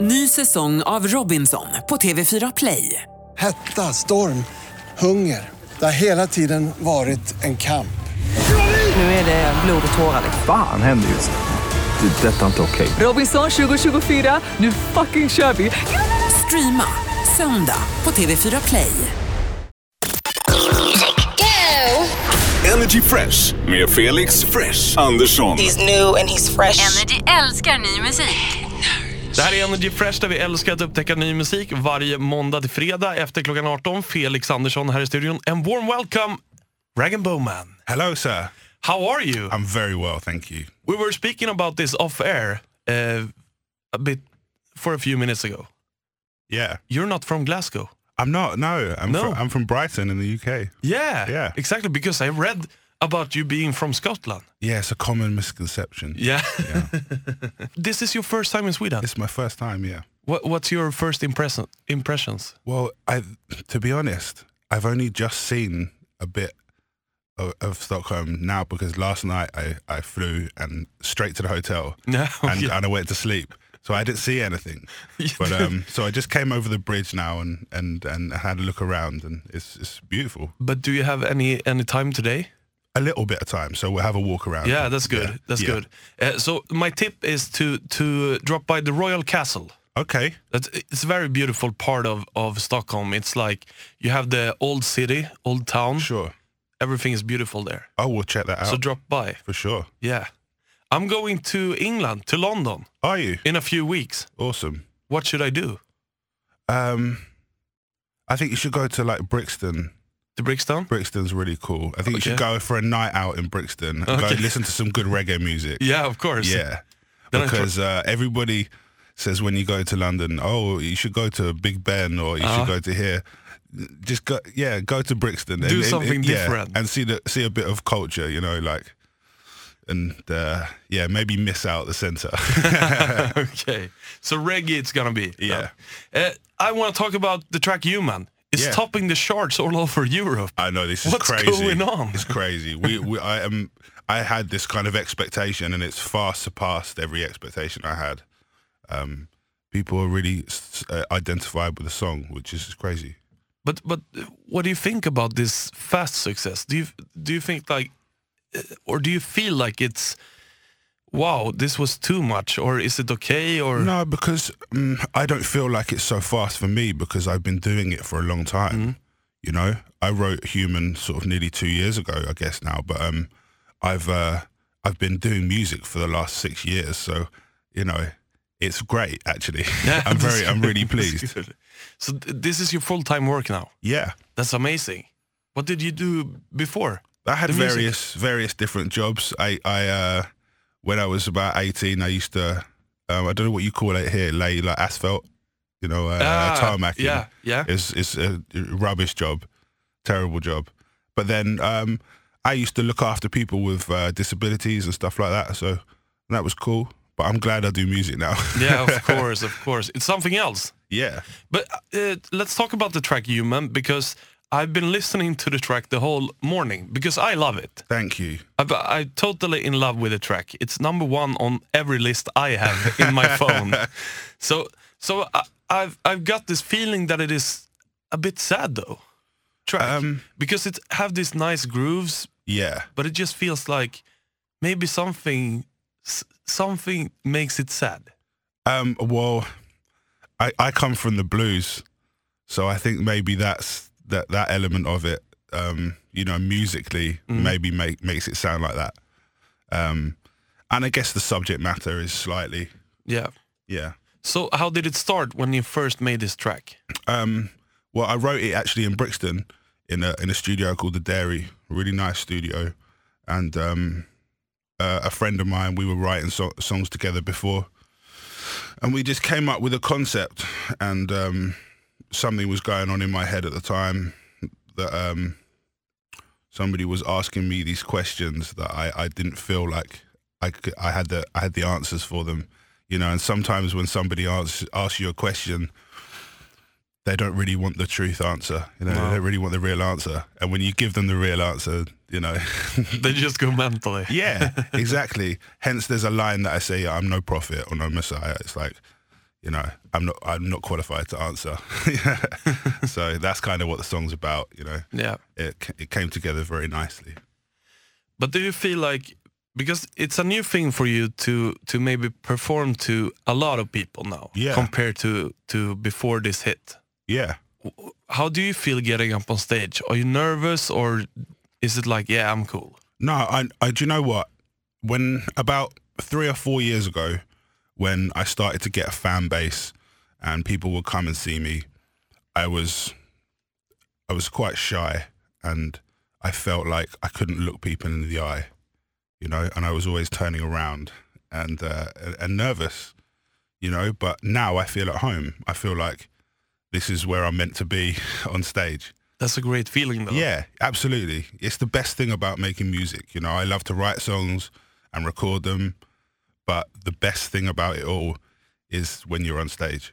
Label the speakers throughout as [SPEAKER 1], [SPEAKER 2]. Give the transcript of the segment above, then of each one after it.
[SPEAKER 1] Ny säsong av Robinson på TV4 Play.
[SPEAKER 2] Hetta, storm, hunger. Det har hela tiden varit en kamp.
[SPEAKER 1] Nu är det blod och tårar. liksom.
[SPEAKER 3] Fan händer just nu. Det. är Detta är inte okej.
[SPEAKER 1] Robinson 2024, nu fucking kör vi! Streama söndag på TV4 Play.
[SPEAKER 4] Energy Fresh med Felix Fresh Andersson.
[SPEAKER 5] He's new and he's fresh.
[SPEAKER 6] Energy älskar ny musik.
[SPEAKER 7] Det här är Energy Fresh där vi älskar att upptäcka ny musik varje måndag till fredag efter klockan 18. Felix Andersson här i studion. En warm welcome, Rag Bowman.
[SPEAKER 8] Hello, sir.
[SPEAKER 7] How are you?
[SPEAKER 8] I'm very well, thank you.
[SPEAKER 7] We were speaking about this off air uh, a bit for a few minutes ago.
[SPEAKER 8] Yeah,
[SPEAKER 7] You're not from Glasgow.
[SPEAKER 8] I'm not. No, I'm,
[SPEAKER 7] No.
[SPEAKER 8] Fr- I'm from Brighton in the UK.
[SPEAKER 7] Yeah,
[SPEAKER 8] Yeah.
[SPEAKER 7] exactly. Because I read about you being from Scotland.
[SPEAKER 8] Yeah, it's a common misconception.
[SPEAKER 7] Yeah. this is your first time in Sweden.
[SPEAKER 8] It's my first time. Yeah.
[SPEAKER 7] What, what's your first impression, impressions?
[SPEAKER 8] Well, I to be honest, I've only just seen a bit of, of Stockholm now because last night I, I flew and straight to the hotel
[SPEAKER 7] No,
[SPEAKER 8] and,
[SPEAKER 7] yeah.
[SPEAKER 8] and I went to sleep. So I didn't see anything, but um, so I just came over the bridge now and, and, and had a look around, and it's it's beautiful.
[SPEAKER 7] But do you have any any time today?
[SPEAKER 8] A little bit of time, so we'll have a walk around.
[SPEAKER 7] Yeah, that's good.
[SPEAKER 8] Yeah,
[SPEAKER 7] That's
[SPEAKER 8] yeah.
[SPEAKER 7] good. Uh, so my tip is to to drop by the Royal Castle.
[SPEAKER 8] Okay,
[SPEAKER 7] That's, it's a very beautiful part of, of Stockholm. It's like you have the old city, old town.
[SPEAKER 8] sure.
[SPEAKER 7] Everything is beautiful there.
[SPEAKER 8] I will check that out
[SPEAKER 7] So drop by.
[SPEAKER 8] for sure.
[SPEAKER 7] Yeah. I'm going to England, to London,
[SPEAKER 8] Are you
[SPEAKER 7] in a few weeks.
[SPEAKER 8] awesome?
[SPEAKER 7] What should I do?
[SPEAKER 8] Um, I think you should go to like Brixton.
[SPEAKER 7] To Brixton?
[SPEAKER 8] Brixton's really cool. I think you should
[SPEAKER 7] Okay.
[SPEAKER 8] go for a night out in Brixton. and Go
[SPEAKER 7] Okay.
[SPEAKER 8] and listen to some good reggae music.
[SPEAKER 7] Yeah, of course.
[SPEAKER 8] Yeah,
[SPEAKER 7] Then I tr-
[SPEAKER 8] because uh, everybody says when you go to London, oh, you should go to Big Ben or you
[SPEAKER 7] Uh-huh.
[SPEAKER 8] should go to here. Just go, yeah, go to Brixton.
[SPEAKER 7] Do something
[SPEAKER 8] yeah,
[SPEAKER 7] different.
[SPEAKER 8] and see the see a bit of culture. You know, like. And uh, yeah, maybe miss out the centre.
[SPEAKER 7] okay. So reggae it's gonna be.
[SPEAKER 8] Yeah.
[SPEAKER 7] Uh, I want to talk about the track Human. It's
[SPEAKER 8] Yeah.
[SPEAKER 7] topping the charts all over Europe.
[SPEAKER 8] I know this is
[SPEAKER 7] What's
[SPEAKER 8] crazy.
[SPEAKER 7] going on?
[SPEAKER 8] It's crazy. We, we, I am. I had this kind of expectation, and it's far surpassed every expectation I had. Um, people are really s- uh, identified with the song, which is crazy.
[SPEAKER 7] But but uh, what do you think about this fast success? Do you do you think like, uh, or do you feel like it's, wow, this was too much, or is it okay, or
[SPEAKER 8] No, because um, I don't feel like it's so fast for me because I've been doing it for a long time.
[SPEAKER 7] Mm-hmm.
[SPEAKER 8] You know, I wrote Human sort of nearly two years ago, I guess now, but um, I've uh, I've been doing music for the last six years, so you know, it's great actually.
[SPEAKER 7] Yeah,
[SPEAKER 8] I'm
[SPEAKER 7] that's
[SPEAKER 8] very, I'm really
[SPEAKER 7] good. That's
[SPEAKER 8] pleased.
[SPEAKER 7] good. So th- this is your full time work now.
[SPEAKER 8] Yeah,
[SPEAKER 7] That's amazing. What did you do before?
[SPEAKER 8] I had
[SPEAKER 7] The music.
[SPEAKER 8] various various different jobs. I I uh, when I was about 18, I used to um, I don't know what you call it here, lay like asphalt, you know, uh,
[SPEAKER 7] Ah,
[SPEAKER 8] tarmac.
[SPEAKER 7] Yeah, yeah.
[SPEAKER 8] It's it's a rubbish job, terrible job. But then um, I used to look after people with uh, disabilities and stuff like that, so that was cool. But I'm glad I do music now.
[SPEAKER 7] yeah, of course, of course. It's something else.
[SPEAKER 8] yeah.
[SPEAKER 7] But uh, let's talk about the track Human because I've been listening to the track the whole morning because I love it.
[SPEAKER 8] Thank you.
[SPEAKER 7] I, I'm totally in love with the track. It's number one on every list I have in my phone. So so I, I've I've got this feeling that it is a bit sad though track
[SPEAKER 8] Um,
[SPEAKER 7] because it have these nice grooves,
[SPEAKER 8] Yeah.
[SPEAKER 7] but it just feels like maybe something s- something makes it sad.
[SPEAKER 8] Um, well, I, I come from the blues, so I think maybe that's that that element of it. Um, you know, musically, maybe make, makes it sound like that. Um, and I guess the subject matter is slightly,
[SPEAKER 7] Yeah.
[SPEAKER 8] yeah.
[SPEAKER 7] So how did it start when you first made this track?
[SPEAKER 8] Um, well, I wrote it actually in Brixton in a in a studio called the Dairy, a really nice studio, and um, uh, a friend of mine. We were writing so- songs together before, and we just came up with a concept, and um, something was going on in my head at the time that um, somebody was asking me these questions that I, I didn't feel like I, could, I had the I had the answers for them, you know. And sometimes when somebody asks asks you a question they don't really want the truth answer. You
[SPEAKER 7] No.
[SPEAKER 8] know, they don't really want the real answer. And when you give them the real answer, you know,
[SPEAKER 7] They just go mentally.
[SPEAKER 8] yeah, exactly. Hence, there's a line that I say, "I'm no prophet or no messiah." It's like, you know, I'm not I'm not qualified to answer. so that's kind of what the song's about. You know,
[SPEAKER 7] Yeah.
[SPEAKER 8] it c- it came together very nicely.
[SPEAKER 7] But do you feel like because it's a new thing for you to to maybe perform to a lot of people now
[SPEAKER 8] Yeah.
[SPEAKER 7] compared to to before this hit?
[SPEAKER 8] Yeah.
[SPEAKER 7] How do you feel getting up on stage? Are you nervous or is it like yeah I'm cool?
[SPEAKER 8] No, I, I do you know what? When about three or four years ago, when I started to get a fan base and people would come and see me, I was I was quite shy and I felt like I couldn't look people in the eye, you know, and I was always turning around and uh, and- and nervous, you know. But now I feel at home. I feel like this is where I'm meant to be on stage.
[SPEAKER 7] That's a great feeling though.
[SPEAKER 8] Yeah, absolutely. It's the best thing about making music. You know, I love to write songs and record them, but the best thing about it all is when you're on stage.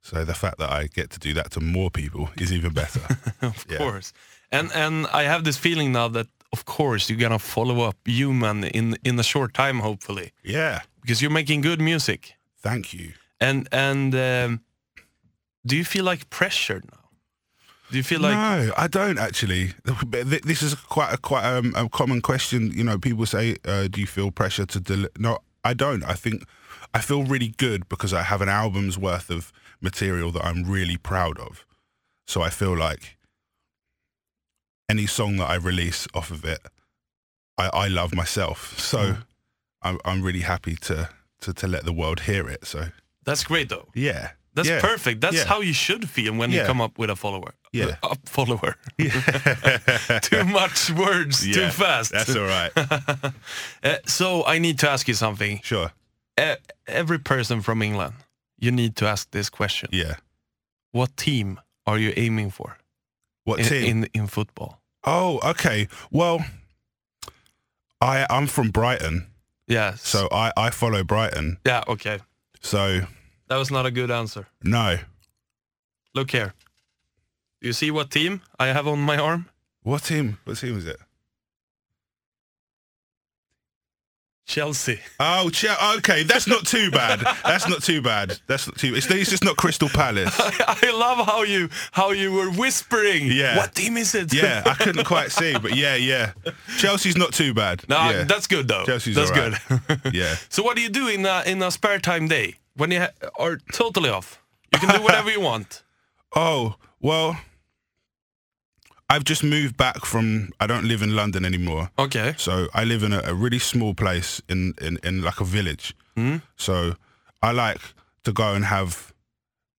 [SPEAKER 8] So the fact that I get to do that to more people is even better.
[SPEAKER 7] of
[SPEAKER 8] Yeah.
[SPEAKER 7] course. And and I have this feeling now that of course you're gonna follow up human in in a short time hopefully
[SPEAKER 8] yeah,
[SPEAKER 7] because you're making good music.
[SPEAKER 8] thank you.
[SPEAKER 7] And and um, do you feel like pressured now? Do you feel like
[SPEAKER 8] no, I don't actually. But th- This is quite a quite um, a common question. You know, people say, uh, "Do you feel pressure to deliver?" No, I don't. I think I feel really good because I have an album's worth of material that I'm really proud of. So I feel like any song that I release off of it, I, I love myself. So
[SPEAKER 7] Hmm.
[SPEAKER 8] I'm, I'm really happy to, to to let the world hear it. So
[SPEAKER 7] that's great though?
[SPEAKER 8] yeah,
[SPEAKER 7] That's
[SPEAKER 8] yeah.
[SPEAKER 7] perfect. That's
[SPEAKER 8] Yeah.
[SPEAKER 7] how you should feel when you
[SPEAKER 8] Yeah.
[SPEAKER 7] come up with a follower.
[SPEAKER 8] Yeah.
[SPEAKER 7] a follower. too much words, too
[SPEAKER 8] Yeah,
[SPEAKER 7] fast.
[SPEAKER 8] That's all right.
[SPEAKER 7] Uh, so I need to ask you something.
[SPEAKER 8] Sure.
[SPEAKER 7] Uh, every person from England, you need to ask this question.
[SPEAKER 8] Yeah.
[SPEAKER 7] What team are you aiming for
[SPEAKER 8] What
[SPEAKER 7] in,
[SPEAKER 8] team?
[SPEAKER 7] in in football?
[SPEAKER 8] Oh, okay. Well, I I'm from Brighton,
[SPEAKER 7] Yes.
[SPEAKER 8] so I I follow Brighton.
[SPEAKER 7] yeah, okay.
[SPEAKER 8] So
[SPEAKER 7] That was not a good answer.
[SPEAKER 8] no,
[SPEAKER 7] Look here. Do you see what team I have on my arm?
[SPEAKER 8] what team? What team is it?
[SPEAKER 7] Chelsea.
[SPEAKER 8] Oh, Che- okay. That's not too bad. That's not too bad. That's not too. It's, it's just not Crystal Palace.
[SPEAKER 7] I love how you how you were whispering.
[SPEAKER 8] Yeah.
[SPEAKER 7] What team is it?
[SPEAKER 8] Yeah, I couldn't quite see, but yeah, yeah. Chelsea's not too bad.
[SPEAKER 7] no,
[SPEAKER 8] yeah.
[SPEAKER 7] that's good though.
[SPEAKER 8] Chelsea's
[SPEAKER 7] that's
[SPEAKER 8] alright.
[SPEAKER 7] good.
[SPEAKER 8] Yeah.
[SPEAKER 7] So what do you do in a in a spare time day when you ha- are totally off? You can do whatever you want.
[SPEAKER 8] Oh well, I've just moved back from. I don't live in London anymore.
[SPEAKER 7] Okay.
[SPEAKER 8] So I live in a, a really small place in, in, in like a village. So I like to go and have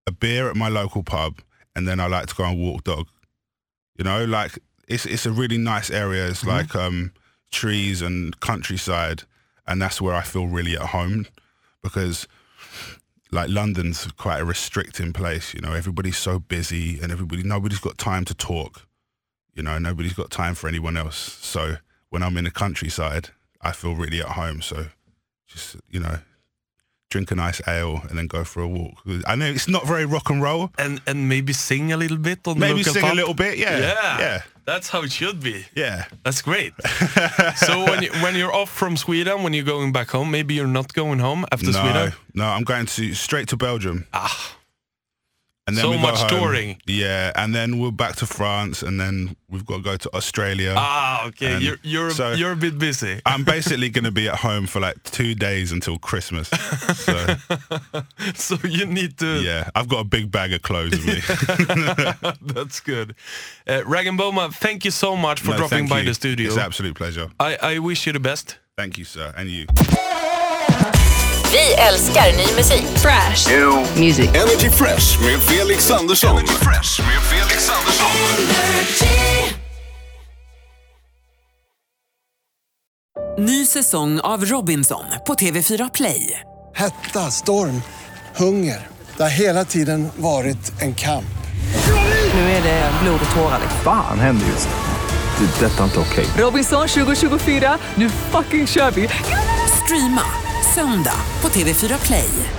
[SPEAKER 8] a beer at my local pub, and then I like to go and walk dog. You know, like it's it's a really nice area. It's like um, trees and countryside, and that's where I feel really at home because like London's quite a restricting place. You know, everybody's so busy, and everybody nobody's got time to talk. You know, nobody's got time for anyone else. So when I'm in the countryside, I feel really at home. So just, you know, drink a nice ale and then go for a walk. I know it's not very rock and roll.
[SPEAKER 7] And and maybe sing a little bit on the
[SPEAKER 8] Maybe
[SPEAKER 7] local
[SPEAKER 8] sing a
[SPEAKER 7] pub?
[SPEAKER 8] little bit. Yeah.
[SPEAKER 7] Yeah.
[SPEAKER 8] Yeah.
[SPEAKER 7] That's how it should be.
[SPEAKER 8] Yeah.
[SPEAKER 7] That's great. so when you, when you're off from Sweden, when you're going back home, maybe you're not going home after
[SPEAKER 8] No,
[SPEAKER 7] Sweden.
[SPEAKER 8] no, I'm going to straight to Belgium. Ah. And
[SPEAKER 7] So
[SPEAKER 8] we go
[SPEAKER 7] much
[SPEAKER 8] home.
[SPEAKER 7] touring.
[SPEAKER 8] Yeah. And then we're back to France and then we've got to go to Australia.
[SPEAKER 7] Ah, okay.
[SPEAKER 8] And
[SPEAKER 7] you're you're
[SPEAKER 8] so-
[SPEAKER 7] you're a bit busy.
[SPEAKER 8] I'm basically going to be at home for like two days until Christmas. So.
[SPEAKER 7] so you need to.
[SPEAKER 8] Yeah, I've got a big bag of clothes with me.
[SPEAKER 7] That's good. Uh, Rag and Boma, thank you so much for
[SPEAKER 8] No,
[SPEAKER 7] dropping
[SPEAKER 8] thank
[SPEAKER 7] by
[SPEAKER 8] you.
[SPEAKER 7] the studio.
[SPEAKER 8] It's an absolute pleasure.
[SPEAKER 7] I, I wish you the best.
[SPEAKER 8] Thank you, sir, and you.
[SPEAKER 5] Vi älskar ny musik.
[SPEAKER 6] Fresh.
[SPEAKER 4] Energy Fresh med Felix Andersson. Energy Fresh med Felix Andersson.
[SPEAKER 1] Ny säsong av Robinson på TV4 Play.
[SPEAKER 2] Hetta, storm, hunger. Det har hela tiden varit en kamp.
[SPEAKER 1] Nu är det blod och tårar.
[SPEAKER 3] Fan händer just det. Det är detta inte okej.
[SPEAKER 1] Robinson 2024, nu fucking kör vi! Streama söndag på TV4 Play.